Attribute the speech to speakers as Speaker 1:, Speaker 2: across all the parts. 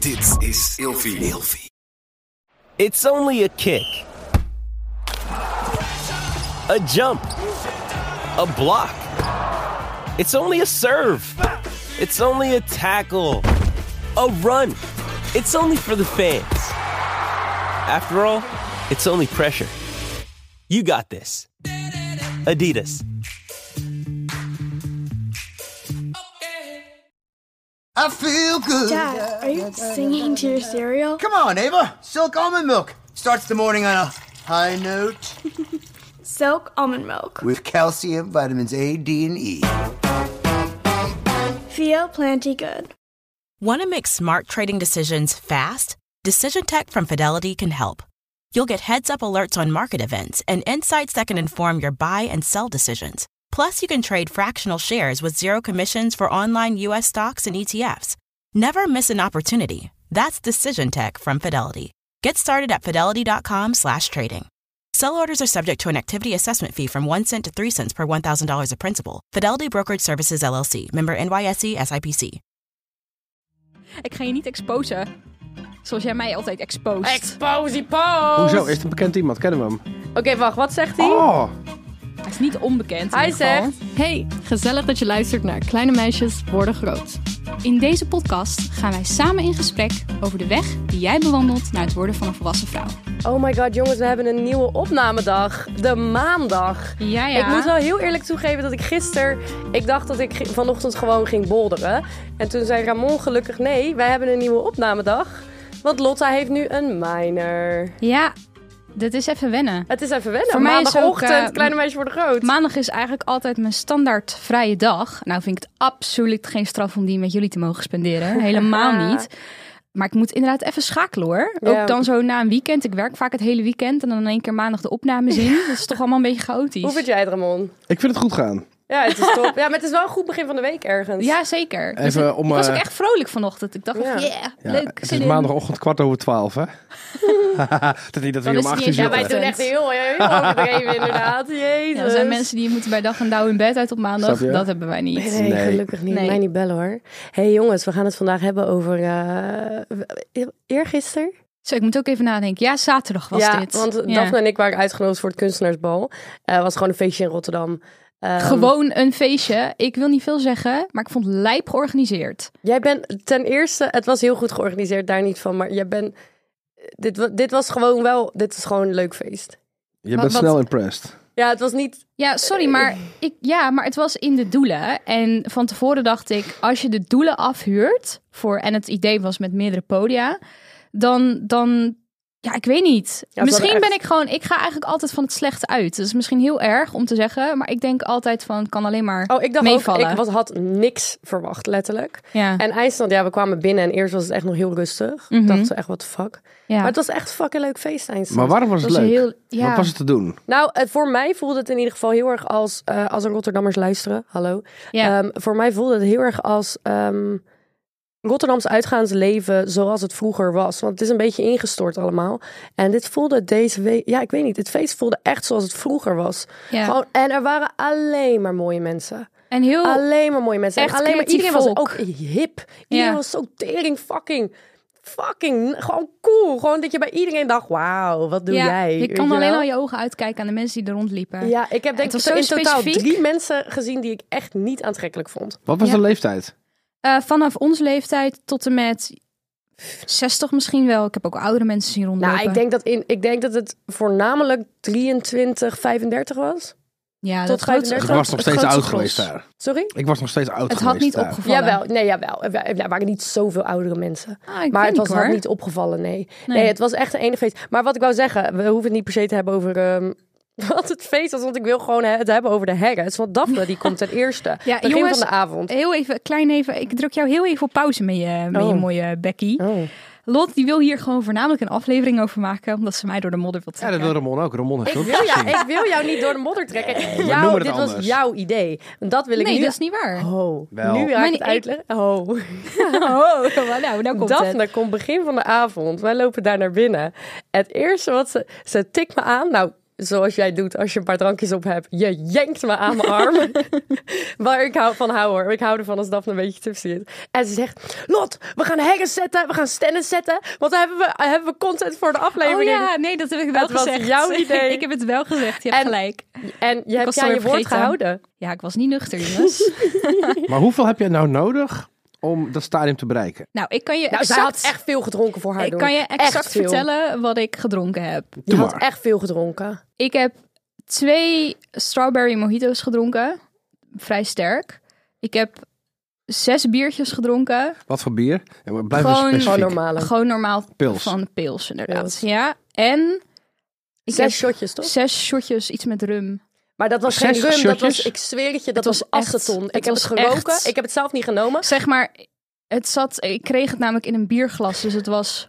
Speaker 1: Dit is Ilfi.
Speaker 2: It's only a kick. A jump. A block. It's only a serve. It's only a tackle. A run. It's only for the fans. After all, it's only pressure. You got this. Adidas.
Speaker 3: I feel good.
Speaker 4: Dad, are you singing to your cereal?
Speaker 3: Come on, Ava. Silk almond milk. Starts the morning on a high note
Speaker 4: Silk almond milk.
Speaker 3: with calcium, vitamins A, D, and E.
Speaker 4: Feel plenty good.
Speaker 5: Want to make smart trading decisions fast? Decision Tech from Fidelity can help. You'll get heads up alerts on market events and insights that can inform your buy and sell decisions. Plus, you can trade fractional shares with zero commissions for online U.S. stocks and ETFs. Never miss an opportunity. That's Decision Tech from Fidelity. Get started at fidelity.com slash trading. Sell orders are subject to an activity assessment fee from 1 cent to 3 cents per $1,000 of principal. Fidelity Brokerage Services, LLC. Member NYSE SIPC.
Speaker 6: Ik ga je niet exposen. Zoals jij mij altijd expost.
Speaker 7: Exposie post!
Speaker 8: Hoezo? Is het een bekend iemand? Kennen we hem?
Speaker 7: Oké, wacht, wat zegt hij?
Speaker 8: Oh,
Speaker 6: Hij is niet onbekend. in
Speaker 7: Hij
Speaker 6: ieder geval.
Speaker 7: zegt.
Speaker 9: Hey, gezellig dat je luistert naar Kleine Meisjes Worden Groot.
Speaker 10: In deze podcast gaan wij samen in gesprek over de weg die jij bewandelt naar het worden van een volwassen vrouw.
Speaker 7: Oh my god, jongens, we hebben een nieuwe opnamedag. De maandag.
Speaker 6: Ja, ja.
Speaker 7: Ik moet wel heel eerlijk toegeven dat ik gisteren... Ik dacht dat ik gi- vanochtend gewoon ging bolderen. En toen zei Ramon gelukkig nee, wij hebben een nieuwe opnamedag. Want Lotta heeft nu een minor.
Speaker 6: Ja.
Speaker 10: Dit is even wennen.
Speaker 7: Het is even wennen.
Speaker 10: Voor mij is
Speaker 7: Maandagochtend,
Speaker 10: ook, eh,
Speaker 7: kleine meisjes worden groot.
Speaker 10: Maandag is eigenlijk altijd mijn standaard vrije dag. Nou vind ik het absoluut geen straf om die met jullie te mogen spenderen. Helemaal niet. Maar ik moet inderdaad even schakelen hoor.
Speaker 7: Ja.
Speaker 10: Ook dan zo na een weekend. Ik werk vaak het hele weekend en dan in één keer maandag de opnames in. Dat is toch allemaal een beetje chaotisch.
Speaker 7: Hoe vind jij het, Ramon?
Speaker 8: ik vind het goed gaan.
Speaker 7: Ja, het is top. ja, maar het is wel een goed begin van de week ergens.
Speaker 10: Ja, zeker. Dus
Speaker 8: Even
Speaker 10: ik,
Speaker 8: om,
Speaker 10: ik was
Speaker 8: eh,
Speaker 10: ook echt vrolijk vanochtend. Ik dacht,
Speaker 7: Ja.
Speaker 10: ja,
Speaker 8: Ja,
Speaker 10: leuk.
Speaker 8: Het
Speaker 10: zin
Speaker 8: is
Speaker 10: in.
Speaker 8: maandagochtend kwart over twaalf, hè? dat niet
Speaker 10: Dan
Speaker 8: dat we hier om
Speaker 10: is het niet-
Speaker 8: acht uur
Speaker 7: Ja,
Speaker 8: zitten.
Speaker 7: wij doen echt heel, heel overdreven inderdaad. Jezus.
Speaker 10: Ja, er zijn mensen die moeten bij dag en dauw in bed uit op maandag.
Speaker 8: Snap je?
Speaker 10: Dat hebben wij niet.
Speaker 7: Nee,
Speaker 8: Nee.
Speaker 7: gelukkig niet.
Speaker 10: Nee.
Speaker 7: Mij niet bellen hoor. hey, jongens, we gaan het vandaag hebben over... eh eergisteren?
Speaker 10: Zo, ik moet ook even nadenken. Ja, zaterdag was
Speaker 7: ja,
Speaker 10: dit.
Speaker 7: want
Speaker 10: Ja.
Speaker 7: Daphne en ik waren uitgenodigd voor het kunstenaarsbal. Eh was gewoon een feestje in Rotterdam. Ehm,
Speaker 10: Gewoon een feestje. Ik wil niet veel zeggen, maar ik vond het lijp georganiseerd.
Speaker 7: Jij bent ten eerste... Het was heel goed georganiseerd, daar niet van. Maar jij bent... Dit, wa- dit was gewoon wel... Dit was gewoon een leuk feest.
Speaker 8: Je
Speaker 10: Wat-
Speaker 8: bent
Speaker 10: wat-
Speaker 8: snel impressed.
Speaker 7: Ja, het was niet...
Speaker 10: Ja,
Speaker 7: Eh.
Speaker 10: sorry, maar, ik, ja, maar het was in de doelen. En van tevoren dacht ik, als je de doelen afhuurt... Voor, en het idee was met meerdere podia... dan, dan ja, ik weet niet.
Speaker 7: hadden
Speaker 10: misschien
Speaker 7: echt-
Speaker 10: ben ik gewoon... Ik ga eigenlijk altijd van het slechte uit. Dat is misschien heel erg om te zeggen... maar ik denk altijd van, het kan alleen maar
Speaker 7: Oh, ik dacht
Speaker 10: meevallen.
Speaker 7: ook... Ik was, had niks verwacht, letterlijk.
Speaker 10: ja.
Speaker 7: En IJsland, ja, we kwamen binnen en eerst was het echt nog heel rustig. Ik
Speaker 10: Mhm.
Speaker 7: dacht zo echt, what the fuck.
Speaker 10: ja.
Speaker 7: Maar het was echt een fucking leuk feest, IJsland.
Speaker 8: Maar waarom was het
Speaker 10: Dat was
Speaker 8: leuk?
Speaker 10: heel- ja.
Speaker 8: Wat was het te doen?
Speaker 7: Nou, eh, voor mij voelde het in ieder geval heel erg als... eh, als een Rotterdammers luisteren, hallo.
Speaker 10: Ja.
Speaker 7: Ehm, voor mij voelde het heel erg als ehm Rotterdams uitgaansleven zoals het vroeger was. Want het is een beetje ingestort allemaal. En dit voelde deze week... Ja, ik weet niet. Het feest voelde echt zoals het vroeger was.
Speaker 10: Ja.
Speaker 7: Gewoon, en er waren alleen maar mooie mensen.
Speaker 10: en heel...
Speaker 7: Alleen maar mooie mensen. En
Speaker 10: Oh. Echt
Speaker 7: alleen maar
Speaker 10: creatief
Speaker 7: iedereen was
Speaker 10: volk.
Speaker 7: ook hip. Iedereen
Speaker 10: Ja.
Speaker 7: was zo tering fucking... Fucking, gewoon cool. Gewoon dat je bij iedereen dacht, wauw, wat doe
Speaker 10: ja,
Speaker 7: jij?
Speaker 10: Je
Speaker 7: Weet
Speaker 10: kan alleen
Speaker 7: wel?
Speaker 10: al je ogen uitkijken aan de mensen die er rondliepen.
Speaker 7: Ja, ik heb denk ik
Speaker 10: Het was
Speaker 7: in
Speaker 10: zo
Speaker 7: totaal
Speaker 10: specifiek.
Speaker 7: drie mensen gezien die ik echt niet aantrekkelijk vond.
Speaker 8: Wat was
Speaker 10: Ja.
Speaker 8: de leeftijd?
Speaker 10: Eh, vanaf onze leeftijd tot en met 60 misschien wel. Ik heb ook oudere mensen zien rondlopen.
Speaker 7: Nou, ik denk, dat in, ik denk dat het voornamelijk 23, 35 was.
Speaker 10: ja,
Speaker 7: tot
Speaker 10: dat grootste-
Speaker 7: 35.
Speaker 8: Ik
Speaker 7: groot-
Speaker 8: was nog
Speaker 10: het
Speaker 8: steeds
Speaker 10: grootste
Speaker 8: oud
Speaker 10: gros.
Speaker 8: geweest daar.
Speaker 7: Sorry?
Speaker 8: Ik was nog steeds oud
Speaker 10: Het
Speaker 8: geweest
Speaker 10: had niet
Speaker 8: daar.
Speaker 10: opgevallen.
Speaker 7: Jawel, nee, jawel. Er wa- er waren niet zoveel oudere mensen.
Speaker 10: Ah, ik
Speaker 7: maar
Speaker 10: weet
Speaker 7: het was
Speaker 10: niet, hoor.
Speaker 7: had niet opgevallen, nee. nee.
Speaker 10: Nee.
Speaker 7: het was echt een ene feest. Maar wat ik wou zeggen, we hoeven het niet per se te hebben over... ehm, wat het feest was, want ik wil gewoon het hebben over de herres. Want Daphne, die komt ten eerste.
Speaker 10: Ja,
Speaker 7: begin
Speaker 10: jongens,
Speaker 7: van de avond.
Speaker 10: Heel even, klein even. Ik druk jou heel even op pauze met je, met je
Speaker 7: Oh.
Speaker 10: mooie Becky.
Speaker 7: Oh.
Speaker 10: Lot, die wil hier gewoon voornamelijk een aflevering over maken. Omdat ze mij door de modder wil
Speaker 8: Ja,
Speaker 10: trekken.
Speaker 8: dat wil Ramon ook. Ramon heeft ook
Speaker 7: Ik Oh, wil, jou,
Speaker 8: gezien.
Speaker 7: ik wil jou niet door de modder trekken.
Speaker 8: we
Speaker 7: Jou-
Speaker 8: noemen het
Speaker 7: dit was
Speaker 8: anders.
Speaker 7: jouw idee. Dat wil ik
Speaker 10: nee,
Speaker 7: nu
Speaker 10: dat is niet waar.
Speaker 7: Oh,
Speaker 8: Wel.
Speaker 7: nu ga
Speaker 10: Maar nee,
Speaker 7: ik het
Speaker 10: ik-
Speaker 7: uitleggen. Oh.
Speaker 10: Oh, nou, nou komt het.
Speaker 7: Daphne komt begin van de avond. Wij lopen daar naar binnen. Het eerste wat ze... Ze tikt me aan. Nou, zoals jij doet als je een paar drankjes op hebt. Je jenkt me aan mijn arm. Waar ik hou van hou hoor. Ik hou ervan als Daphne een beetje tipsy is. En ze zegt, Lot, we gaan heggen zetten. We gaan stennen zetten. Want dan hebben we, hebben we content voor de
Speaker 11: Oh
Speaker 7: aflevering.
Speaker 11: ja, nee, dat heb ik wel
Speaker 7: Het was
Speaker 11: gezegd.
Speaker 7: jouw idee.
Speaker 11: ik heb het wel gezegd, je hebt
Speaker 7: En-
Speaker 11: gelijk.
Speaker 7: En je hebt
Speaker 11: was
Speaker 7: je aan
Speaker 11: alweer
Speaker 7: je woord
Speaker 11: vergeten.
Speaker 7: gehouden.
Speaker 11: Ja, ik was niet nuchter, jongens.
Speaker 8: Maar hoeveel heb jij nou nodig om dat stadium te bereiken?
Speaker 11: nou, ik kan je
Speaker 7: Nou,
Speaker 11: exact,
Speaker 7: zij had echt veel gedronken voor haar
Speaker 11: ik
Speaker 7: doen.
Speaker 11: kan je exact
Speaker 7: Echt veel.
Speaker 11: vertellen wat ik gedronken heb.
Speaker 7: Je
Speaker 8: Doe
Speaker 7: had
Speaker 8: maar.
Speaker 7: echt veel gedronken.
Speaker 11: Ik heb twee strawberry mojito's gedronken. Vrij sterk. Ik heb zes biertjes gedronken.
Speaker 8: Wat voor bier? Ja, maar blijf wel
Speaker 11: Gewoon-
Speaker 7: Gewoon
Speaker 8: specifiek.
Speaker 7: normale.
Speaker 11: Gewoon normaal
Speaker 8: Pils.
Speaker 11: van pils, inderdaad.
Speaker 7: Pils.
Speaker 11: Ja, en ik
Speaker 7: Zes
Speaker 11: heb
Speaker 7: shotjes, toch?
Speaker 11: zes shotjes, iets met rum.
Speaker 7: Maar dat was
Speaker 8: Zes
Speaker 7: geen rum, dat was,
Speaker 8: shotjes?
Speaker 7: ik zweer het je, dat
Speaker 11: Het
Speaker 7: was,
Speaker 11: was echt-
Speaker 7: aceton.
Speaker 11: het
Speaker 7: Ik heb
Speaker 11: was
Speaker 7: het geroken,
Speaker 11: echt-
Speaker 7: ik heb het zelf niet genomen.
Speaker 11: Zeg maar, het zat, ik kreeg het namelijk in een bierglas, dus het was,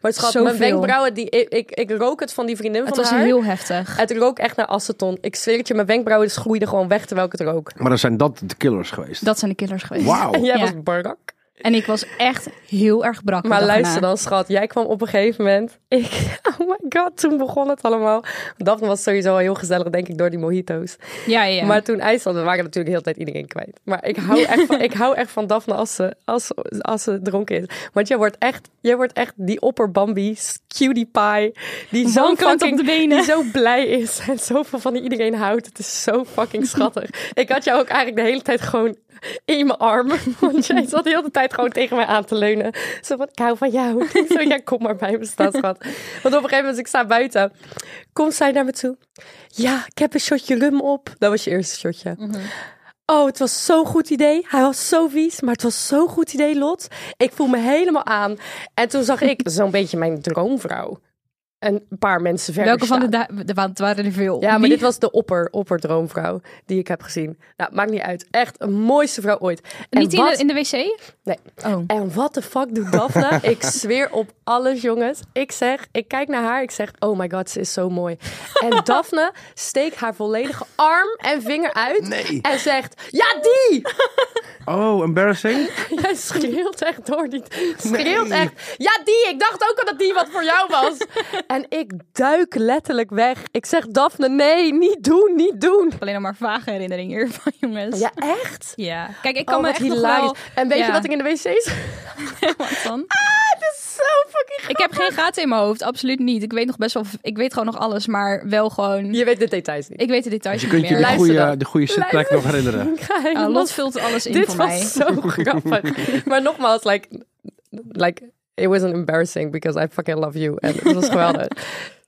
Speaker 7: Maar schat, mijn
Speaker 11: Zoveel.
Speaker 7: wenkbrauwen, die, ik, ik, ik rook het van die vriendin
Speaker 11: het
Speaker 7: van
Speaker 11: was
Speaker 7: haar.
Speaker 11: heel heftig.
Speaker 7: Het rook echt naar aceton. Ik zweer het je, mijn wenkbrauwen dus groeiden gewoon weg terwijl ik het rook.
Speaker 8: Maar dan zijn dat de killers geweest.
Speaker 11: Dat zijn de killers geweest.
Speaker 8: Wauw.
Speaker 7: En jij
Speaker 11: Ja.
Speaker 7: was barak.
Speaker 11: En ik was echt heel erg brak. de
Speaker 7: Maar
Speaker 11: dag
Speaker 7: luister
Speaker 11: erna.
Speaker 7: dan, schat. Jij kwam op een gegeven moment. Ik, oh my god, toen begon het allemaal. Daphne was sowieso al heel gezellig, denk ik, door die mojito's.
Speaker 11: Ja, ja. ja.
Speaker 7: Maar toen IJsland, we waren natuurlijk heel de tijd iedereen kwijt. Maar ik hou echt van, ik hou echt van Daphne als ze, als, ze- als ze dronken is. Want jij wordt echt, jij wordt echt die opperbambi, cutie pie, die zo
Speaker 11: Wankelend op
Speaker 7: fucking,
Speaker 11: de benen.
Speaker 7: die zo blij is en zoveel van die iedereen houdt. Het is zo fucking schattig. ik had jou ook eigenlijk de hele tijd gewoon in mijn armen. Want jij zat de hele tijd gewoon tegen mij aan te leunen. Zo van, ik hou van jou. Ik zo, ja, kom maar bij me staan, schat. Want op een gegeven moment, als ik sta buiten, komt zij naar me toe. Ja, ik heb een shotje rum op. Dat was je eerste shotje. Oh, het was zo'n goed idee. Hij was zo vies, maar het was zo'n goed idee, Lot. Ik voel me helemaal aan. En toen zag ik zo'n beetje mijn droomvrouw. Een paar mensen verder
Speaker 11: Welke van de,
Speaker 7: staan.
Speaker 11: da- de want het waren er veel.
Speaker 7: Ja, maar
Speaker 11: Wie-
Speaker 7: dit was de opper, opperdroomvrouw die ik heb gezien. Nou, maakt niet uit. Echt een mooiste vrouw ooit. En
Speaker 11: niet in
Speaker 7: wat-
Speaker 11: de, in de wc?
Speaker 7: Nee.
Speaker 11: Oh.
Speaker 7: En wat de fuck doet Daphne? ik zweer op alles, jongens. Ik zeg, ik kijk naar haar, ik zeg, oh my god, ze is zo mooi. En Daphne steekt haar volledige arm en vinger uit
Speaker 8: Nee.
Speaker 7: en zegt, ja die!
Speaker 8: Oh, embarrassing.
Speaker 7: Jij schreeuwt echt door die, schreeuwt
Speaker 8: Nee.
Speaker 7: echt, ja die, ik dacht ook al dat die wat voor jou was. en ik duik letterlijk weg. Ik zeg, Daphne, nee, niet doen, niet doen.
Speaker 11: Alleen nog maar vage herinneringen hiervan, jongens.
Speaker 7: Ja, echt?
Speaker 11: Ja. Kijk, ik kan
Speaker 7: oh,
Speaker 11: me
Speaker 7: wat
Speaker 11: echt nog
Speaker 7: hilarisch.
Speaker 11: wel...
Speaker 7: En weet je
Speaker 11: Ja.
Speaker 7: wat ik in de wc's...
Speaker 11: Wat dan?
Speaker 7: Het is zo fucking
Speaker 11: Ik heb geen gaten in mijn hoofd, absoluut niet. Ik weet nog best wel... Ik weet gewoon nog alles, maar wel gewoon...
Speaker 7: Je weet de details niet.
Speaker 11: Ik weet de details
Speaker 8: Dus Je
Speaker 11: niet
Speaker 8: kunt je
Speaker 11: meer.
Speaker 8: de
Speaker 7: Luister
Speaker 8: goede,
Speaker 7: dan.
Speaker 8: de goede zitplek nog herinneren.
Speaker 7: Ik ga
Speaker 11: Ah,
Speaker 7: helemaal
Speaker 11: Lot vult alles in
Speaker 7: Dit
Speaker 11: voor
Speaker 7: was
Speaker 11: mij.
Speaker 7: zo grappig. maar nogmaals, like, like, it wasn't embarrassing because I fucking love you. En het was geweldig.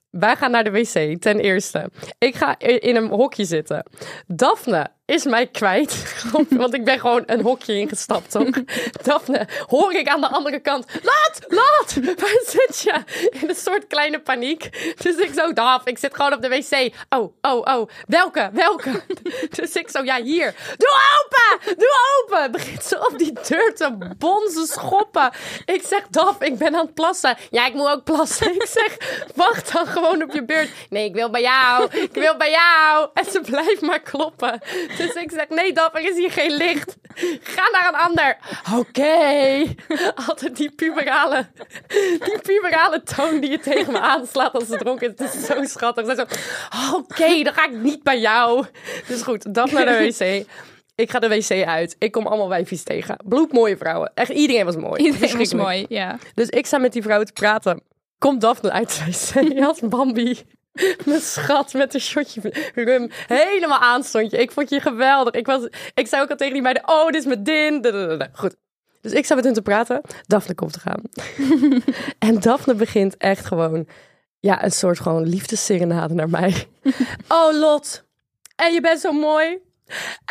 Speaker 7: Wij gaan naar de wc, ten eerste. Ik ga i- in een hokje zitten. Daphne is mij kwijt, want ik ben gewoon een hokje ingestapt, toch? Daphne, hoor ik aan de andere kant, laat, laat, waar zit je? In een soort kleine paniek. Dus ik zo, Daf, ik zit gewoon op de wc. Oh, oh, oh, welke, welke? Dus ik zo, ja, hier. Doe open, doe open. Begint ze op die deur te bonzen, schoppen. Ik zeg, Daf, ik ben aan het plassen. Ja, ik moet ook plassen. Ik zeg, wacht dan gewoon op je beurt. Nee, ik wil bij jou, ik wil bij jou. En ze blijft maar kloppen. Dus ik zeg, nee Daf, er is hier geen licht. Ga naar een ander. Oké. Altijd die puberale, die puberale toon die je tegen me aanslaat als ze dronken is. Het is zo schattig. Zij zo, oké, dan ga ik niet bij jou. Dus goed, Daf naar de wc. Ik ga de wc uit. Ik kom allemaal wijfjes tegen. Bloedmooie vrouwen. Echt, iedereen was mooi.
Speaker 11: Iedereen was
Speaker 7: Verschrikkelijk.
Speaker 11: mooi, ja.
Speaker 7: Dus ik sta met die vrouw te praten. Komt Daphne uit de wc als Bambi. Mijn schat met een shotje rum. Helemaal aanstond je. Ik vond je geweldig. Ik, was, ik zei ook al tegen die meiden, oh, dit is mijn din. Dadadada. Goed. Dus ik sta met hun te praten. Daphne komt te gaan. en Daphne begint echt gewoon... Ja, een soort gewoon liefdesserenade naar mij. oh, Lot. En je bent zo mooi.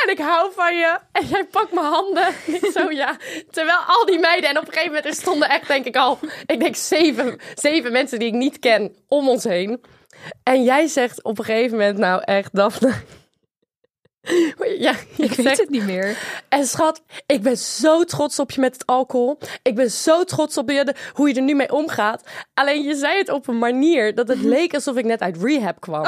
Speaker 7: En ik hou van je. En jij pakt mijn handen. Ik zo ja. Terwijl al die meiden. En op een gegeven moment er stonden echt, denk ik al. Ik denk zeven, zeven mensen die ik niet ken om ons heen. En jij zegt op een gegeven moment, nou echt, Daphne. Ja, je
Speaker 11: Ik weet
Speaker 7: zegt-
Speaker 11: het niet meer.
Speaker 7: en schat, ik ben zo trots op je met het alcohol. Ik ben zo trots op je, de- hoe je er nu mee omgaat. Alleen je zei het op een manier dat het leek alsof ik net uit rehab kwam.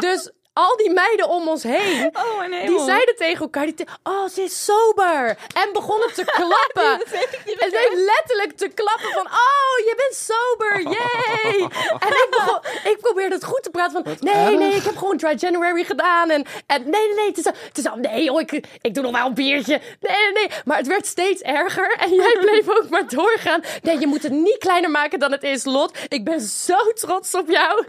Speaker 7: Dus al die meiden om ons heen.
Speaker 10: Oh, nee.
Speaker 7: Die zeiden tegen elkaar, die te- oh, ze is sober. En begonnen te klappen. En ze heeft letterlijk te klappen van, oh, je bent sober, yay. En ik, begon, ik probeerde het goed te praten van, nee,
Speaker 8: erg.
Speaker 7: nee, ik heb gewoon dry January gedaan. En, en nee, nee, nee, het is, al- het is al, nee, oh, ik, ik doe nog wel een biertje. Nee, nee, nee. Maar het werd steeds erger. En jij bleef ook maar doorgaan. Nee, je moet het niet kleiner maken dan het is, Lot. Ik ben zo trots op jou.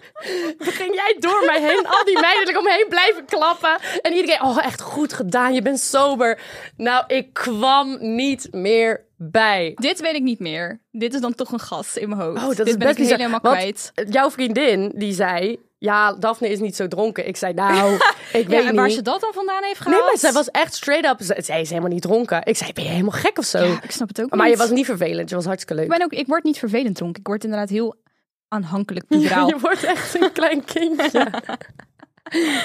Speaker 7: Toen ging jij door mij heen, al die meiden er omheen blijven klappen. En iedereen, oh, echt goed gedaan, je bent sober. Nou, ik kwam niet meer bij.
Speaker 10: Dit weet ik niet meer. Dit is dan toch een gas in mijn hoofd.
Speaker 7: Oh, dat
Speaker 10: Dit
Speaker 7: is
Speaker 10: ben
Speaker 7: best
Speaker 10: ik
Speaker 7: bizar,
Speaker 10: helemaal
Speaker 7: want-
Speaker 10: kwijt.
Speaker 7: Jouw vriendin, die zei... Ja, Daphne is niet zo dronken. Ik zei, nou, ik
Speaker 10: Ja,
Speaker 7: weet
Speaker 10: en
Speaker 7: niet.
Speaker 10: waar ze dat dan vandaan heeft gehaald?
Speaker 7: Nee, maar zij was echt straight up. Ze- Zij is helemaal niet dronken. Ik zei, ben je helemaal gek of zo?
Speaker 10: Ja, ik snap het ook
Speaker 7: maar
Speaker 10: niet.
Speaker 7: je was niet vervelend. Je was hartstikke
Speaker 10: Ik,
Speaker 7: leuk.
Speaker 10: ben ook, ik word niet vervelend dronken. Ik word inderdaad heel aanhankelijk
Speaker 7: Ja,
Speaker 10: puberaal.
Speaker 7: je wordt echt een klein kindje.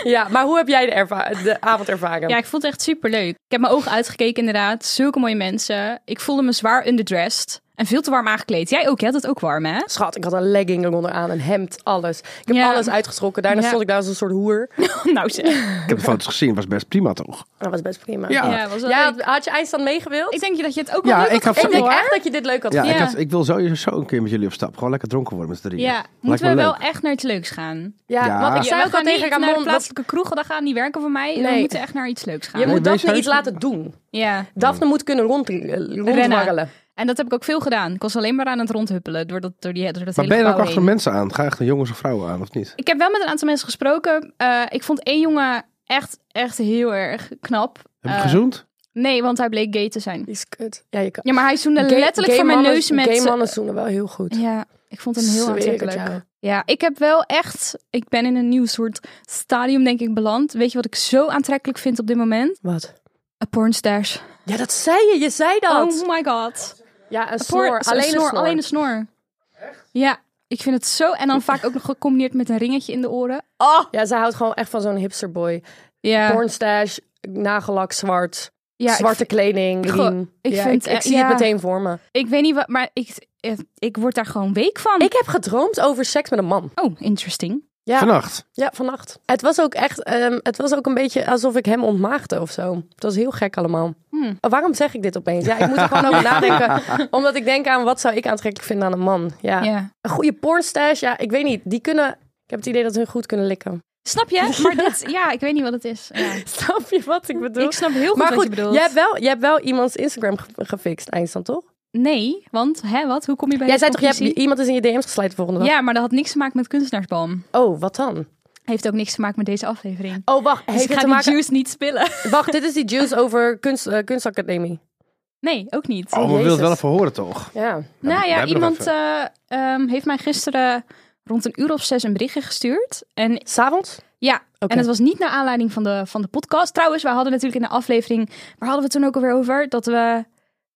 Speaker 7: ja, maar hoe heb jij de, erva- de avond ervaren?
Speaker 10: Ja, ik vond het echt superleuk. Ik heb mijn ogen uitgekeken inderdaad. Zulke mooie mensen. Ik voelde me zwaar underdressed. En veel te warm aangekleed. Jij ook, jij had het ook warm, hè?
Speaker 7: Schat, ik had een legging eronder aan, een hemd, alles. Ik heb
Speaker 10: Ja.
Speaker 7: alles uitgetrokken. Daarna
Speaker 10: Ja.
Speaker 7: stond ik daar als een soort hoer.
Speaker 10: nou zeg.
Speaker 8: Ik heb de foto's gezien, was best prima toch?
Speaker 7: Dat was best prima.
Speaker 8: Ja.
Speaker 10: Ja, was wel
Speaker 7: Ja,
Speaker 10: leuk.
Speaker 7: had je eindstand meegewild?
Speaker 10: Ik
Speaker 7: Ik,
Speaker 10: denk dat je het ook
Speaker 8: Ja,
Speaker 10: wel leuk
Speaker 8: ik
Speaker 10: had
Speaker 8: had-
Speaker 10: gevonden,
Speaker 7: denk
Speaker 10: hoor.
Speaker 7: echt dat je dit leuk had
Speaker 8: Ja,
Speaker 7: gevonden.
Speaker 8: Ik,
Speaker 10: Ja.
Speaker 8: had- ik wil sowieso een keer met jullie op stap. Gewoon lekker dronken worden met z'n drieën.
Speaker 10: Ja,
Speaker 8: Lijkt
Speaker 10: moeten
Speaker 8: me
Speaker 10: we wel
Speaker 8: leuk.
Speaker 10: echt naar iets leuks gaan.
Speaker 7: Ja,
Speaker 8: Ja.
Speaker 7: want ik
Speaker 8: Ja,
Speaker 7: zei
Speaker 10: we
Speaker 7: ook al
Speaker 10: gaan
Speaker 7: tegen
Speaker 10: niet naar de
Speaker 7: Ramon, dat-
Speaker 10: plaatselijke kroegen, dat gaat niet werken voor mij. We
Speaker 7: Nee.
Speaker 10: moeten echt naar iets leuks gaan.
Speaker 7: je moet
Speaker 8: wees
Speaker 7: Daphne
Speaker 8: heus-
Speaker 7: iets laten doen.
Speaker 10: Ja.
Speaker 7: Daphne moet kunnen rond, rondwarrelen.
Speaker 10: En dat heb ik ook veel gedaan. Ik was alleen maar aan het rondhuppelen door dat, door die, door dat
Speaker 8: Maar
Speaker 10: hele
Speaker 8: ben je dan ook
Speaker 10: gebouw
Speaker 8: achter
Speaker 10: heen.
Speaker 8: mensen aan? Ga je echt een jongens of vrouwen aan of niet?
Speaker 10: Ik heb wel met een aantal mensen gesproken. Eh, ik vond één jongen echt, echt heel erg knap.
Speaker 8: Heb je
Speaker 10: Eh,
Speaker 8: gezoend?
Speaker 10: Nee, want hij bleek gay te zijn.
Speaker 7: Die is kut. Ja, je kan.
Speaker 10: Ja, maar hij zoende
Speaker 7: Gay-
Speaker 10: letterlijk
Speaker 7: gay
Speaker 10: voor mijn
Speaker 7: mannen-
Speaker 10: neus met... eh,
Speaker 7: Gay mannen zoenen wel heel goed.
Speaker 10: Ja, ik vond hem heel
Speaker 7: Zweer ik het,
Speaker 10: aantrekkelijk.
Speaker 7: ja.
Speaker 10: Ja. ik heb wel echt... Ik ben in een nieuw soort stadium, denk ik, beland. Weet je wat ik zo aantrekkelijk vind op dit moment?
Speaker 7: Wat?
Speaker 10: Een pornstash.
Speaker 7: Ja, dat zei je. Je zei dat.
Speaker 10: Oh my god.
Speaker 7: mm. ja, een
Speaker 10: Porn-
Speaker 7: snor. Alleen een
Speaker 10: snor,
Speaker 7: snor.
Speaker 10: Alleen een snor. Echt? Ja, ik vind het zo... En dan vaak ook nog gecombineerd met een ringetje in de oren. Oh!
Speaker 7: Ja, zij houdt gewoon echt van zo'n hipsterboy.
Speaker 10: Ja.
Speaker 7: Pornstash, nagellak zwart,
Speaker 10: ja, ik
Speaker 7: zwarte kleding,
Speaker 10: Goh,
Speaker 7: riem.
Speaker 10: ik
Speaker 7: ja,
Speaker 10: vind-
Speaker 7: ik, ik zie
Speaker 10: ja.
Speaker 7: het meteen voor me.
Speaker 10: Ik weet niet wat, maar ik, eh, ik word daar gewoon week van.
Speaker 7: Ik heb gedroomd over seks met een man.
Speaker 10: Oh, interesting.
Speaker 7: Ja,
Speaker 8: Vannacht.
Speaker 7: ja vannacht. Het was ook echt, ehm, het was ook een beetje alsof ik hem ontmaagde of zo. Het was heel gek allemaal. Oh, Waarom zeg ik dit opeens? Ja, ik moet er gewoon over nadenken. Omdat ik denk aan wat zou ik aantrekkelijk vinden aan een man. Ja.
Speaker 10: Ja.
Speaker 7: Een goede pornstash, ja, ik weet niet. Die kunnen, ik heb het idee dat hun goed kunnen likken.
Speaker 10: Snap je? Maar dit, ja, ik weet niet wat het is. Ja.
Speaker 7: Snap je wat ik bedoel?
Speaker 10: Ik snap heel goed
Speaker 7: maar
Speaker 10: wat
Speaker 7: goed,
Speaker 10: je bedoelt.
Speaker 7: jij hebt wel, jij hebt wel iemands Instagram ge- gefixt, eindstand, toch?
Speaker 10: Nee, want hè, wat? Hoe kom je bij
Speaker 7: Jij
Speaker 10: deze
Speaker 7: zei toch, je hebt,
Speaker 10: conclusie?
Speaker 7: iemand is in je DM's geslijt de volgende dag?
Speaker 10: Ja, maar dat had niks te maken met kunstenaarsboom.
Speaker 7: Oh, wat dan?
Speaker 10: Heeft ook niks te maken met deze aflevering.
Speaker 7: Oh, wacht.
Speaker 10: Dus
Speaker 7: Heeft
Speaker 10: ik
Speaker 7: het
Speaker 10: ga
Speaker 7: te
Speaker 10: die
Speaker 7: maken...
Speaker 10: juice niet spillen.
Speaker 7: Wacht, dit is die juice over kunst, eh, kunstacademie.
Speaker 10: Nee, ook niet.
Speaker 8: Oh, we willen het
Speaker 7: Jezus.
Speaker 8: wel even horen toch?
Speaker 7: Ja.
Speaker 10: nou
Speaker 8: we
Speaker 10: ja,
Speaker 8: hebben nog
Speaker 10: iemand
Speaker 8: even.
Speaker 10: eh, ehm, heeft mij gisteren rond een uur of zes een berichtje gestuurd. En
Speaker 7: S'avonds?
Speaker 10: Ja,
Speaker 7: Oké.
Speaker 10: en het was niet naar aanleiding van de, van de podcast. Trouwens, we hadden natuurlijk in de aflevering... Waar hadden we het toen ook alweer over? Dat we...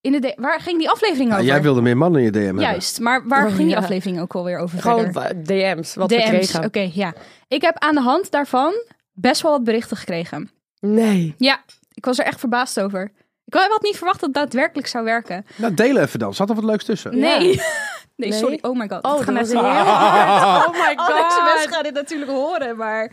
Speaker 10: In de de- waar ging die aflevering
Speaker 8: Ja,
Speaker 10: over?
Speaker 8: Nou, jij wilde meer mannen in je DM hebben.
Speaker 10: Juist, maar waar
Speaker 7: Oh,
Speaker 10: ging die
Speaker 7: ja.
Speaker 10: aflevering ook alweer over
Speaker 7: Gewoon
Speaker 10: verder?
Speaker 7: wa- DM's, wat we
Speaker 10: DM's,
Speaker 7: kregen.
Speaker 10: oké, ja. Ik heb aan de hand daarvan best wel wat berichten gekregen.
Speaker 7: Nee.
Speaker 10: Ja, ik was er echt verbaasd over. Ik had niet verwacht dat het daadwerkelijk zou werken.
Speaker 8: Nou, delen even dan. Zat er wat leuks tussen?
Speaker 10: Nee. Nee,
Speaker 7: Nee.
Speaker 10: sorry. Oh my god. dit
Speaker 7: Oh, dat
Speaker 10: gaan
Speaker 7: was
Speaker 10: mensen-
Speaker 7: heel hard. Oh my
Speaker 10: Alex en Wes
Speaker 7: god.
Speaker 10: gaan dit natuurlijk horen, maar...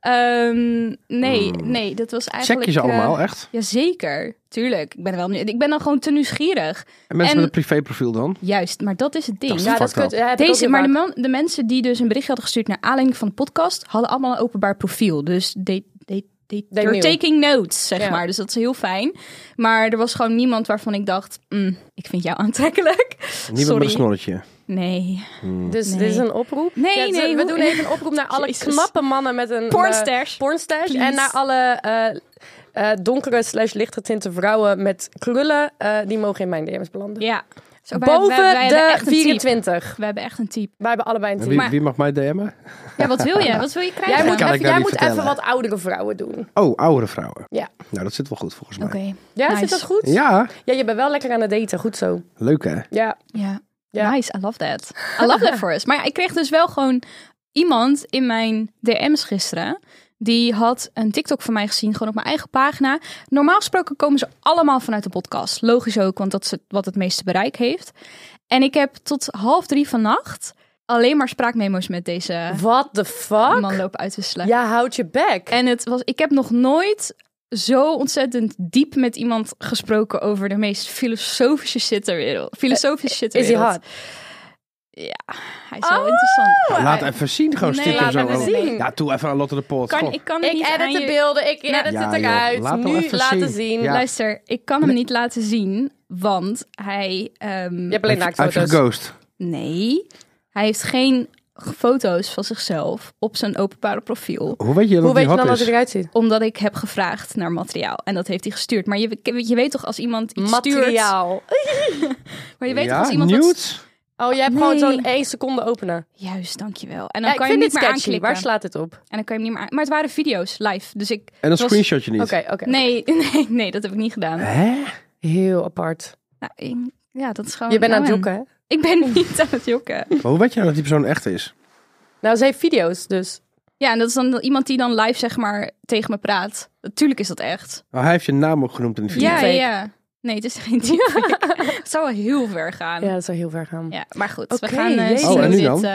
Speaker 10: ehm, nee, nee, dat was
Speaker 8: Hmm. Check
Speaker 10: eigenlijk...
Speaker 8: je ze
Speaker 10: eh,
Speaker 8: allemaal, echt?
Speaker 10: Jazeker, tuurlijk. Ik ben, er wel, benieuwd. ik ben dan gewoon te nieuwsgierig.
Speaker 8: En mensen
Speaker 10: en-
Speaker 8: met een privéprofiel dan?
Speaker 10: Juist, maar dat is het ding.
Speaker 8: is
Speaker 7: Ja, dat is
Speaker 8: Fucked
Speaker 7: kut.
Speaker 8: up.
Speaker 7: Ja, heb ik ook
Speaker 10: Deze,
Speaker 7: heel
Speaker 10: maar de,
Speaker 7: vaak.
Speaker 10: man- de mensen die dus een berichtje hadden gestuurd naar aanleiding van de podcast, hadden allemaal een openbaar profiel. Dus they, they, they,
Speaker 7: They
Speaker 10: they're
Speaker 7: knew.
Speaker 10: taking notes, zeg
Speaker 7: Ja.
Speaker 10: maar. Dus dat is heel fijn. Maar er was gewoon niemand waarvan ik dacht, "Mm, ik vind jou aantrekkelijk.
Speaker 8: Niemand
Speaker 10: Sorry.
Speaker 8: met een snorretje.
Speaker 10: Nee.
Speaker 7: Dus dit is
Speaker 10: Nee.
Speaker 7: een oproep?
Speaker 10: Nee,
Speaker 7: Ja, dus
Speaker 10: nee,
Speaker 7: We
Speaker 10: hoe-
Speaker 7: doen even een oproep naar alle
Speaker 10: Jezus.
Speaker 7: knappe mannen met een... eh,
Speaker 10: Pornstash.
Speaker 7: pornstash.
Speaker 10: Please.
Speaker 7: En naar alle eh, eh, donkere slash lichtgetinte vrouwen met krullen. eh, die mogen in mijn DM's belanden.
Speaker 10: Ja. Zo, wij-
Speaker 7: Boven
Speaker 10: wij- wij hebben
Speaker 7: de
Speaker 10: echt een type.
Speaker 7: 24.
Speaker 10: We hebben echt een type.
Speaker 7: Wij hebben allebei een
Speaker 8: En
Speaker 7: team.
Speaker 8: wie,
Speaker 10: Maar-
Speaker 8: wie mag mij DM'en?
Speaker 10: Ja, wat wil je? Wat wil je krijgen?
Speaker 7: Jij moet,
Speaker 8: kan
Speaker 7: even,
Speaker 8: ik nou
Speaker 7: jij
Speaker 8: niet
Speaker 7: moet even
Speaker 8: vertellen.
Speaker 7: wat oudere vrouwen doen.
Speaker 8: Oh, oudere vrouwen.
Speaker 7: Ja.
Speaker 8: Nou, dat zit wel goed volgens mij.
Speaker 10: Oké.
Speaker 7: Ja,
Speaker 10: Nice.
Speaker 7: zit dat goed?
Speaker 8: Ja,
Speaker 7: Ja, je bent wel lekker aan het daten. Goed zo.
Speaker 8: leuk hè?
Speaker 10: Oh,
Speaker 7: Ja.
Speaker 10: Ja.
Speaker 7: Ja.
Speaker 10: Nice, I love that. I love that for us. Maar ja, ik kreeg dus wel gewoon iemand in mijn DM's gisteren. Die had een TikTok van mij gezien, gewoon op mijn eigen pagina. Normaal gesproken komen ze allemaal vanuit de podcast. Logisch ook, want dat is het- wat het meeste bereik heeft. En ik heb tot half drie vannacht alleen maar spraakmemo's met deze
Speaker 7: What the fuck?
Speaker 10: man lopen uitwisselen.
Speaker 7: Ja, houd je bek.
Speaker 10: En het was, ik heb nog nooit zo ontzettend diep met iemand gesproken over de meest filosofische shit ter wereld. Filosofische shit ter
Speaker 7: Eh, Is hij
Speaker 10: wereld.
Speaker 7: hard?
Speaker 10: Hij is
Speaker 7: Oh,
Speaker 10: wel interessant.
Speaker 8: Laat even zien, gewoon
Speaker 10: eh, Nee,
Speaker 8: stikken
Speaker 10: laat
Speaker 8: zo.
Speaker 10: even zien.
Speaker 8: Ja, toe even aan Lotte de Poort.
Speaker 10: Kan,
Speaker 8: Kom.
Speaker 10: ik kan het
Speaker 7: Ik
Speaker 10: niet aan
Speaker 7: edit de
Speaker 10: je-
Speaker 7: beelden, ik edit
Speaker 8: Ja,
Speaker 7: het
Speaker 8: joh,
Speaker 7: eruit.
Speaker 8: laat hem
Speaker 7: nu
Speaker 8: even
Speaker 7: laten
Speaker 8: zien.
Speaker 7: zien.
Speaker 8: Ja.
Speaker 10: Luister, ik kan hem niet laten zien, want hij... ehm,
Speaker 7: Je hebt alleen
Speaker 8: Heb je
Speaker 7: naaktfoto's.
Speaker 8: geghost?
Speaker 10: Nee, hij heeft geen g- foto's van zichzelf op zijn openbare profiel.
Speaker 8: Hoe weet je dat
Speaker 7: Hoe weet
Speaker 8: die
Speaker 7: je dan
Speaker 8: hot
Speaker 7: dat
Speaker 8: is?
Speaker 7: hij eruit ziet?
Speaker 10: Omdat ik heb gevraagd naar materiaal en dat heeft hij gestuurd. Maar je, je weet toch als iemand iets stuurt...
Speaker 7: Materiaal.
Speaker 10: Maar je weet
Speaker 8: ja,
Speaker 10: toch als iemand wat
Speaker 8: nudes?
Speaker 7: Oh, jij hebt
Speaker 10: Nee.
Speaker 7: gewoon zo'n 1 seconde openen.
Speaker 10: Juist, dankjewel. En dan
Speaker 7: Ja, ik
Speaker 10: kan je
Speaker 7: vind
Speaker 10: hem
Speaker 7: dit
Speaker 10: niet meer
Speaker 7: sketchy.
Speaker 10: aanklikken.
Speaker 7: Waar slaat dit op? Oké,
Speaker 10: En dan kan je hem niet meer aan... Maar het waren video's, live. Dus ik...
Speaker 8: En een
Speaker 10: was-
Speaker 8: screenshotje niet.
Speaker 7: Eh, oké.
Speaker 10: Nee, nee, nee, dat heb ik niet gedaan.
Speaker 8: Hè?
Speaker 7: Heel apart.
Speaker 10: Nou, ik- ja, dat is gewoon...
Speaker 7: Je bent aan het
Speaker 10: Owen.
Speaker 7: jokken, hè?
Speaker 10: Ik ben niet aan het jokken.
Speaker 8: Maar hoe weet je nou dat die persoon echt is?
Speaker 7: Nou, ze heeft video's, dus.
Speaker 10: Ja, en dat is dan iemand die dan live zeg maar tegen me praat. Natuurlijk is dat echt.
Speaker 8: Oh, hij heeft je naam ook genoemd in de video.
Speaker 10: Ja, ja,
Speaker 7: Deepfake.
Speaker 10: ja. Nee, het is geen deepfake. het zou wel heel ver gaan.
Speaker 7: Ja,
Speaker 10: Ja,
Speaker 7: dat zou heel ver gaan.
Speaker 10: maar goed.
Speaker 7: Oké,
Speaker 10: we gaan eh,
Speaker 7: jezus.
Speaker 10: zien
Speaker 8: Oh, en
Speaker 10: hoe
Speaker 8: nu
Speaker 10: dit...
Speaker 8: dan?
Speaker 10: eh,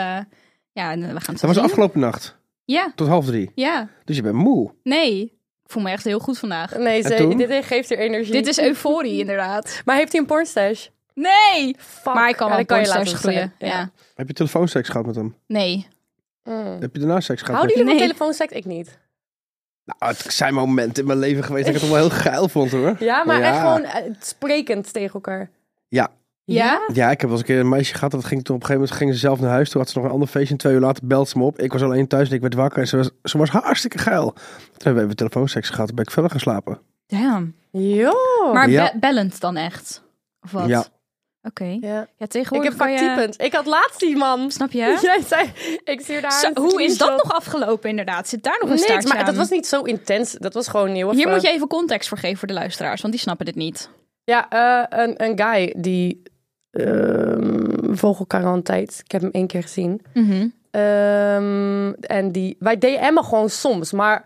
Speaker 10: ja, en, eh, we gaan het
Speaker 8: Dat was
Speaker 10: zien.
Speaker 8: afgelopen nacht,
Speaker 10: Ja,
Speaker 8: tot half drie.
Speaker 10: ja.
Speaker 8: Dus je bent moe.
Speaker 10: Nee. Ik voel me echt heel goed vandaag.
Speaker 7: Nee,
Speaker 8: En
Speaker 7: ze,
Speaker 8: toen?
Speaker 7: dit geeft er energie.
Speaker 10: Dit is euforie inderdaad.
Speaker 7: Maar heeft hij een pornstash?
Speaker 10: Nee!
Speaker 7: Fuck.
Speaker 10: Maar ik kan
Speaker 7: Ja,
Speaker 10: wel
Speaker 7: dat kan je
Speaker 10: pornstars
Speaker 7: laten
Speaker 10: groeien.
Speaker 7: zien.
Speaker 10: Ja.
Speaker 8: Heb je telefoonseks gehad met hem?
Speaker 10: Nee.
Speaker 7: Mm.
Speaker 8: Heb je daarna seks gehad
Speaker 7: Houden
Speaker 8: met
Speaker 7: jullie van
Speaker 10: Nee.
Speaker 7: telefoonseks? Ik niet.
Speaker 8: Nou, het zijn momenten in mijn leven geweest dat ik het wel heel geil vond hoor.
Speaker 7: Ja, maar
Speaker 8: Ja.
Speaker 7: echt gewoon eh, sprekend tegen elkaar.
Speaker 8: Ja.
Speaker 10: Ja?
Speaker 8: Ja, ik heb wel eens een keer een meisje gehad. Dat ging toen op een gegeven moment ging ze zelf naar huis. Toen had ze nog een ander feestje. En twee uur later belt ze me op. Ik was alleen thuis en ik werd wakker. En ze was, ze was hartstikke geil. Toen hebben we even telefoonseks gehad. Toen ben ik verder gaan slapen.
Speaker 10: Damn.
Speaker 7: Jo.
Speaker 10: Maar
Speaker 8: Ja.
Speaker 10: be- bellend dan echt? Of wat?
Speaker 8: Ja.
Speaker 10: Oké.
Speaker 7: Ja.
Speaker 10: Ja,
Speaker 7: Ik
Speaker 10: tegenwoordig
Speaker 7: heb
Speaker 10: kan je...
Speaker 7: vaktypend. Ik had laatst die man.
Speaker 10: Snap je?
Speaker 7: Jij zei, ik stuurde haar
Speaker 10: Zo,
Speaker 7: een
Speaker 10: hoe is dat
Speaker 7: screenshot.
Speaker 10: nog afgelopen inderdaad? Zit daar nog een
Speaker 7: Niks,
Speaker 10: staartje
Speaker 7: maar dat
Speaker 10: aan?
Speaker 7: was niet zo intens. Dat was gewoon nieuw.
Speaker 10: Hier moet je even context voor geven voor de luisteraars, want die snappen dit niet.
Speaker 7: Ja, eh, een, een guy die... ehm vogelkarantijt. Ik heb hem één keer gezien.
Speaker 10: Mhm.
Speaker 7: Ehm, en die, wij DM'en gewoon soms, maar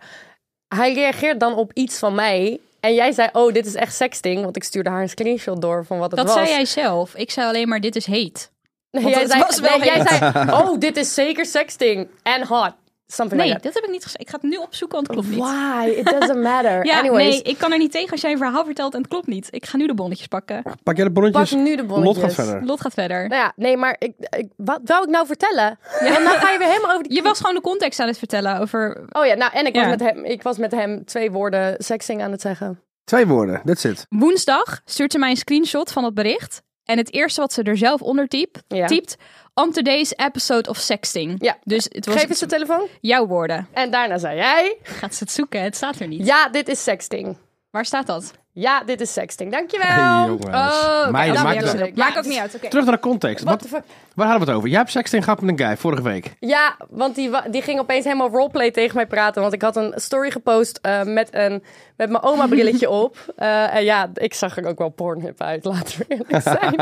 Speaker 7: hij reageert dan op iets van mij. En jij zei, oh, dit is echt sexting, want ik stuurde haar een screenshot door van wat het
Speaker 10: Dat
Speaker 7: was.
Speaker 10: zei jij zelf. Ik zei alleen maar, dit is heet.
Speaker 7: Nee,
Speaker 10: want
Speaker 7: jij,
Speaker 10: het
Speaker 7: zei,
Speaker 10: was wel
Speaker 7: nee, jij
Speaker 10: heet.
Speaker 7: zei, oh, dit is zeker sexting en hot. Something
Speaker 10: Nee,
Speaker 7: like that.
Speaker 10: dat heb ik niet gezegd. Ik ga het nu opzoeken, want het klopt niet.
Speaker 7: Why? It doesn't matter.
Speaker 10: Ja,
Speaker 7: Anyways,
Speaker 10: nee, ik kan er niet tegen als jij een verhaal vertelt en het klopt niet. Ik ga nu de bonnetjes pakken.
Speaker 8: Pak jij de bonnetjes?
Speaker 7: Pak nu de
Speaker 8: Lot gaat
Speaker 7: bonnetjes.
Speaker 8: verder.
Speaker 10: Lot gaat verder.
Speaker 7: nou ja, nee, maar ik, ik, wat wou ik nou vertellen? Want nou ga je weer helemaal over die...
Speaker 10: Je was gewoon de context aan het vertellen over...
Speaker 7: Oh ja, nou, en ik,
Speaker 10: Ja.
Speaker 7: was met hem, ik was met hem twee woorden sexting aan het zeggen.
Speaker 8: Twee woorden. That's it.
Speaker 10: Woensdag stuurt ze mij een screenshot van het bericht. En het eerste wat ze er zelf onder typ,
Speaker 7: Ja.
Speaker 10: typt... On today's episode of sexting.
Speaker 7: Ja.
Speaker 10: Dus het was
Speaker 7: Geef eens de telefoon.
Speaker 10: jouw woorden.
Speaker 7: En daarna zei jij,
Speaker 10: Gaat ze het zoeken? Het staat er niet.
Speaker 7: ja, dit is sexting.
Speaker 10: Waar staat dat?
Speaker 7: Ja, dit is sexting.
Speaker 8: Hey,
Speaker 7: Dankjewel.
Speaker 8: jongens.
Speaker 10: oké,
Speaker 8: Meiden,
Speaker 10: dat
Speaker 8: maakt
Speaker 10: maakt niet
Speaker 8: het uit.
Speaker 10: uit. Maakt ook niet uit. oké.
Speaker 8: Terug naar de context.
Speaker 7: What
Speaker 8: Wat,
Speaker 7: the fuck?
Speaker 8: waar hadden we het over? Jij hebt sexting gehad met een guy vorige week.
Speaker 7: Ja, want die, wa- die ging opeens helemaal roleplay tegen mij praten. Want ik had een story gepost eh, met, een, met mijn oma brilletje op. Eh, en ja, ik zag er ook wel Pornhub uit, laten we eerlijk zijn.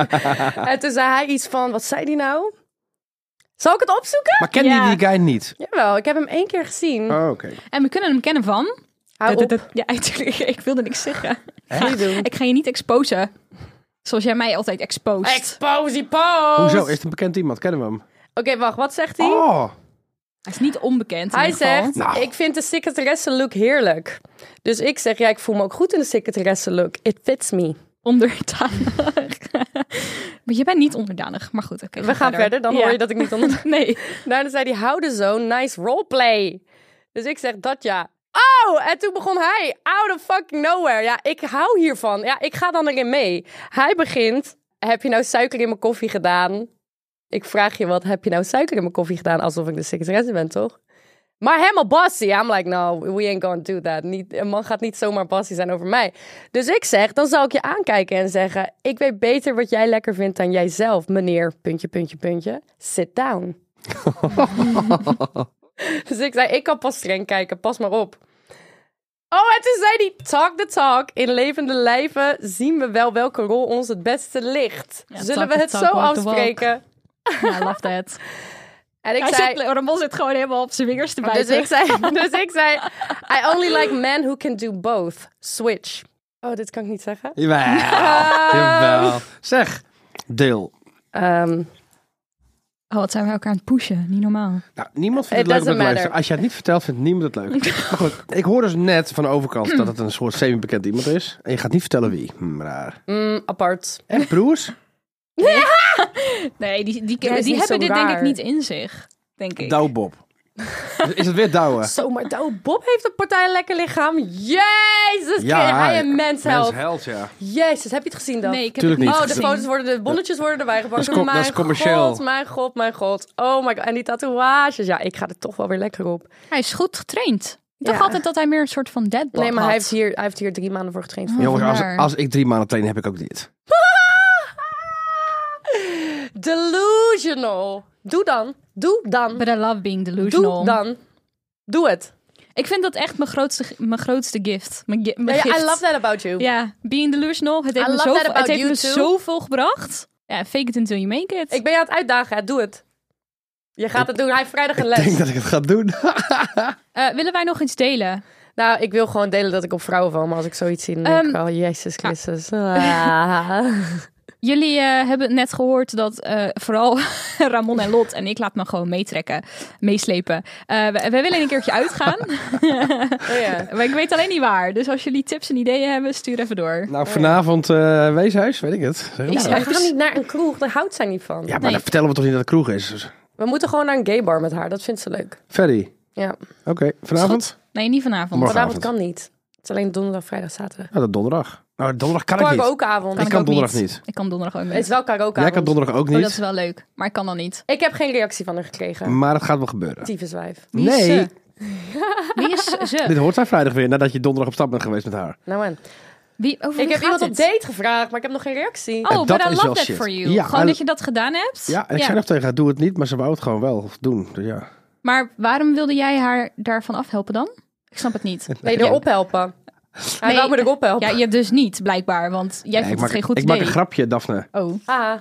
Speaker 7: en toen zei hij iets van, wat zei die nou? Zal ik het opzoeken?
Speaker 8: Maar kende
Speaker 10: Ja.
Speaker 8: je die guy niet?
Speaker 7: Jawel, ik heb hem één keer gezien.
Speaker 8: Oh, oké.
Speaker 10: En we kunnen hem kennen van...
Speaker 7: Hou op.
Speaker 10: Ja, natuurlijk. Ik wilde niks zeggen.
Speaker 7: Niet doen.
Speaker 10: Ik ga je niet exposen. Zoals jij mij altijd expost.
Speaker 7: Exposie post.
Speaker 8: Hoezo? Is het een bekend iemand? Kennen we hem?
Speaker 7: Oké, wacht, wat zegt hij?
Speaker 8: Oh,
Speaker 10: Hij is niet onbekend. in
Speaker 7: Hij
Speaker 10: ieder geval.
Speaker 7: zegt,
Speaker 8: Nou.
Speaker 7: ik vind de secretaresse look heerlijk. Dus ik zeg, ja, ik voel me ook goed in de secretaresse look. It fits me.
Speaker 10: Onderdanig. maar je bent niet onderdanig. Maar goed, oké.
Speaker 7: We gaan verder, dan
Speaker 10: Ja.
Speaker 7: hoor je dat ik niet onder...
Speaker 10: Nee.
Speaker 7: Daarna Nou, zei hij, houden zo, nice roleplay. Dus ik zeg, dat ja. Oh, en toen begon hij, out of fucking nowhere. Ja, ik hou hiervan. Ja, ik ga dan erin mee. Hij begint, heb je nou suiker in mijn koffie gedaan? Ik vraag je wat, heb je nou suiker in mijn koffie gedaan? Alsof ik de secretaresse ben, toch? Maar helemaal bossy. I'm like, no, we ain't gonna do that. Niet, een man gaat niet zomaar bossy zijn over mij. Dus ik zeg, dan zal ik je aankijken en zeggen... ik weet beter wat jij lekker vindt dan jijzelf, meneer... puntje, puntje, puntje. Sit down. dus ik zei, ik kan pas streng kijken, pas maar op. Oh, en toen zei hij, talk the talk. In levende lijven zien we wel welke rol ons het beste ligt. Zullen
Speaker 10: talk
Speaker 7: we
Speaker 10: the
Speaker 7: het
Speaker 10: talk,
Speaker 7: zo
Speaker 10: walk the walk.
Speaker 7: afspreken?
Speaker 10: Ja, love that.
Speaker 7: En ik
Speaker 10: Nou, Hij
Speaker 7: zei...
Speaker 10: zit, Ramon zit gewoon helemaal op zijn vingers te bijten.
Speaker 7: Dus ik, zei, dus ik zei, I only like men who can do both. Switch. Oh, dit kan ik niet zeggen.
Speaker 8: jawel. jawel. Zeg, deel.
Speaker 7: Ehm,
Speaker 10: Oh, wat zijn we elkaar aan het pushen. Niet normaal.
Speaker 8: Nou, niemand vindt
Speaker 7: It
Speaker 8: het leuk om
Speaker 7: doesn't
Speaker 8: dat te
Speaker 7: matter.
Speaker 8: luisteren. Als je het niet vertelt, vindt niemand het leuk. maar goed, ik hoor dus net van de overkant dat het een soort semi-bekend iemand is. En je gaat niet vertellen wie. Hm, raar.
Speaker 7: Mm, apart.
Speaker 8: En broers?
Speaker 10: Nee, die, die,
Speaker 7: Ja, is
Speaker 10: die
Speaker 7: niet
Speaker 10: hebben
Speaker 7: zo
Speaker 10: dit denk ik
Speaker 7: raar.
Speaker 10: niet in zich. Denk ik.
Speaker 8: Douwbob. is het weer douwen?
Speaker 7: Zo, maar Douwe Bob heeft een partij een lekker lichaam. Jezus,
Speaker 8: Ja,
Speaker 7: hij een mens helpt.
Speaker 8: Mens ja.
Speaker 7: Jezus, heb je het gezien dan?
Speaker 10: Nee, ik heb
Speaker 8: Tuurlijk
Speaker 10: het niet
Speaker 8: niet.
Speaker 7: Oh, de
Speaker 10: gezien.
Speaker 7: foto's worden, de bonnetjes worden erbij gepakt.
Speaker 8: Dat is com- dat is
Speaker 7: Mijn
Speaker 8: commercieel.
Speaker 7: God, mijn god, mijn god. Oh my god. En die tatoeages. Ja, ik ga er toch wel weer lekker op.
Speaker 10: Hij is goed getraind. Ik dacht
Speaker 7: Ja.
Speaker 10: altijd dat hij meer een soort van deadbot
Speaker 7: nee, maar hij
Speaker 10: had.
Speaker 7: heeft, hier, hij heeft hier drie maanden voor getraind.
Speaker 8: Jongens,
Speaker 10: Vandaar.
Speaker 8: als, als ik drie maanden train, heb ik ook dit.
Speaker 7: Delusional. Doe dan. Doe dan.
Speaker 10: But I love being delusional.
Speaker 7: Doe dan. Doe het.
Speaker 10: Ik vind dat echt mijn grootste, mijn grootste gift. Mijn, gi-
Speaker 7: Ja,
Speaker 10: mijn
Speaker 7: ja,
Speaker 10: gift.
Speaker 7: I love that about you.
Speaker 10: Ja, being delusional. Het heeft,
Speaker 7: I
Speaker 10: me,
Speaker 7: love that
Speaker 10: zoveel, het
Speaker 7: about
Speaker 10: heeft
Speaker 7: you
Speaker 10: me
Speaker 7: too.
Speaker 10: zoveel gebracht. Ja, fake it until you make it.
Speaker 7: Ik ben je aan het uitdagen. hè. Doe het. Je gaat het doen. Hij heeft vrijdag een les.
Speaker 8: Ik denk dat ik het ga doen.
Speaker 10: Eh, willen wij nog iets delen?
Speaker 7: Nou, ik wil gewoon delen dat ik op vrouwen val. Maar als ik zoiets zie, dan denk
Speaker 8: Ehm,
Speaker 7: ik wel, Jezus
Speaker 8: nou.
Speaker 7: Christus.
Speaker 8: Oh,
Speaker 7: Ah.
Speaker 10: Jullie eh, hebben net gehoord dat eh, vooral Ramon en Lot en ik laat me gewoon meetrekken, meeslepen. Eh, we- wij willen een keertje uitgaan,
Speaker 7: Oh ja.
Speaker 10: maar ik weet alleen niet waar. Dus als jullie tips en ideeën hebben, stuur even door.
Speaker 8: nou, vanavond eh, weeshuis, weet ik het. Zeg maar.
Speaker 7: Ja,
Speaker 8: ja,
Speaker 7: wij gaan niet naar een kroeg, daar houdt zij niet van.
Speaker 8: maar dan vertellen we toch niet dat het kroeg is. Dus-
Speaker 7: We moeten gewoon naar een gay bar met haar, dat vindt ze leuk.
Speaker 8: Ferry,
Speaker 7: Ja,
Speaker 8: oké. Vanavond?
Speaker 10: Nee, niet vanavond.
Speaker 8: Morgen.
Speaker 7: vanavond
Speaker 8: Morgenavond.
Speaker 7: kan niet. Het is alleen donderdag, vrijdag, zaterdag.
Speaker 8: Nou, dat donderdag. Nou, donderdag kan ik niet.
Speaker 7: Karaokeavond.
Speaker 8: Ik
Speaker 10: ik
Speaker 8: kan
Speaker 10: ook
Speaker 8: donderdag
Speaker 10: niet.
Speaker 8: niet.
Speaker 10: Ik kan donderdag ook
Speaker 7: Het is
Speaker 10: niet.
Speaker 7: wel karaokeavond.
Speaker 8: Jij kan donderdag ook
Speaker 10: Oh,
Speaker 8: niet.
Speaker 10: dat is wel leuk, maar ik kan dan niet.
Speaker 7: Ik heb geen reactie van haar gekregen.
Speaker 8: Maar het gaat wel gebeuren.
Speaker 7: Tieve zwijf.
Speaker 10: Wie is
Speaker 8: Nee,
Speaker 10: ze? Wie is ze?
Speaker 8: dit hoort zij vrijdag weer nadat je donderdag op stap bent geweest met haar.
Speaker 7: Nou man.
Speaker 10: Wie, over
Speaker 7: Ik
Speaker 10: wie
Speaker 7: heb
Speaker 10: gaat
Speaker 7: iemand op
Speaker 10: het?
Speaker 7: date gevraagd, maar ik heb nog geen reactie.
Speaker 8: En
Speaker 10: Oh,
Speaker 8: dat
Speaker 10: but I
Speaker 8: is
Speaker 10: love
Speaker 8: wel
Speaker 10: that
Speaker 8: shit.
Speaker 10: for you.
Speaker 8: Ja,
Speaker 10: Gewoon
Speaker 8: en-
Speaker 10: dat je dat gedaan hebt.
Speaker 8: Ja, en ik zei nog tegen haar, doe het niet, maar ze wou het gewoon wel doen. Dus ja.
Speaker 10: Maar waarom wilde jij haar daarvan afhelpen dan? Ik snap het niet.
Speaker 7: Nee, erop helpen. Hij
Speaker 10: Nee.
Speaker 7: wou me erop helpen.
Speaker 10: Ja, je dus niet, blijkbaar. Want jij
Speaker 8: ik
Speaker 10: vindt
Speaker 8: maak,
Speaker 10: het geen goed
Speaker 8: ik
Speaker 10: idee.
Speaker 8: maak een grapje, Daphne.
Speaker 10: Oh.
Speaker 7: Ah.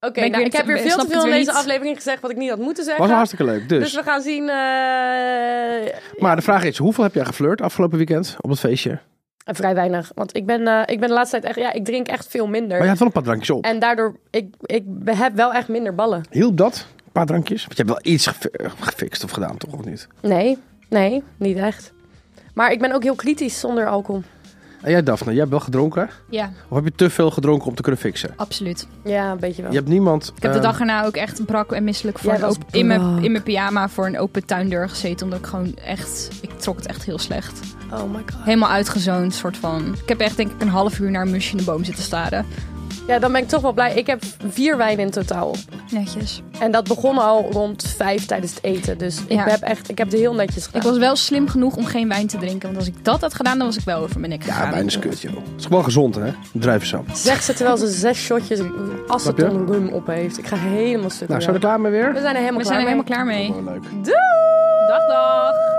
Speaker 7: Oké,
Speaker 10: ik
Speaker 7: nou,
Speaker 10: weer
Speaker 7: ik heb
Speaker 10: te-
Speaker 7: weer veel
Speaker 10: snap
Speaker 7: te
Speaker 10: ik
Speaker 7: veel
Speaker 10: het
Speaker 7: in
Speaker 10: weer
Speaker 7: deze
Speaker 10: niet.
Speaker 7: aflevering gezegd wat ik niet had moeten zeggen.
Speaker 8: Was hartstikke leuk. Dus.
Speaker 7: Dus we gaan zien. eh,
Speaker 8: Maar de vraag is, hoeveel heb jij geflirt afgelopen weekend op het feestje? Maar
Speaker 7: Vrij weinig. Want ik ben, eh, ik ben de laatste tijd echt. Ja, ik drink echt veel minder.
Speaker 8: je had wel een paar drankjes op.
Speaker 7: En daardoor. Ik, ik heb wel echt minder ballen.
Speaker 8: Hielp dat? Een paar drankjes? Want je hebt wel iets gefi- eh, gefixt of gedaan, toch? Of niet?
Speaker 7: Nee, nee, niet echt. Maar ik ben ook heel kritisch zonder alcohol.
Speaker 8: En jij, Daphne, jij hebt wel gedronken?
Speaker 10: Ja,
Speaker 8: Of heb je te veel gedronken om te kunnen fixen?
Speaker 10: absoluut.
Speaker 7: Ja, een beetje wel.
Speaker 8: Je hebt niemand... ehm,
Speaker 10: Ik heb de dag erna ook echt brak en misselijk voor
Speaker 7: Jij
Speaker 10: een
Speaker 7: was
Speaker 10: open- in, mijn,
Speaker 7: brak.
Speaker 10: in mijn pyjama voor een open tuindeur gezeten. Omdat ik gewoon echt... Ik trok het echt heel slecht.
Speaker 7: Oh my god.
Speaker 10: Helemaal uitgezoond, soort van. Ik heb echt denk ik een half uur naar een musje in de boom zitten staren.
Speaker 7: Ja, dan ben ik toch wel blij. Ik heb vier wijnen in totaal.
Speaker 10: Netjes.
Speaker 7: En dat begon al rond vijf tijdens het eten. Dus ik,
Speaker 10: Ja.
Speaker 7: heb echt, ik heb het heel netjes
Speaker 10: Ik
Speaker 7: gedaan.
Speaker 10: was wel slim genoeg om geen wijn te drinken. Want als ik dat had gedaan, dan was ik wel over mijn nek
Speaker 8: Ja,
Speaker 10: gegaan.
Speaker 8: wijn is kut, joh. Het is gewoon gezond, hè? Druivensap.
Speaker 7: Zeg ze terwijl ze zes shotjes aceton rum op heeft. Ik ga helemaal stuk.
Speaker 8: Nou,
Speaker 7: door
Speaker 8: zijn we
Speaker 7: jou.
Speaker 8: er klaar mee weer?
Speaker 7: We zijn er helemaal
Speaker 10: We zijn er
Speaker 7: klaar
Speaker 10: helemaal klaar mee.
Speaker 8: Wel leuk.
Speaker 7: mee. Doei!
Speaker 10: Dag, dag.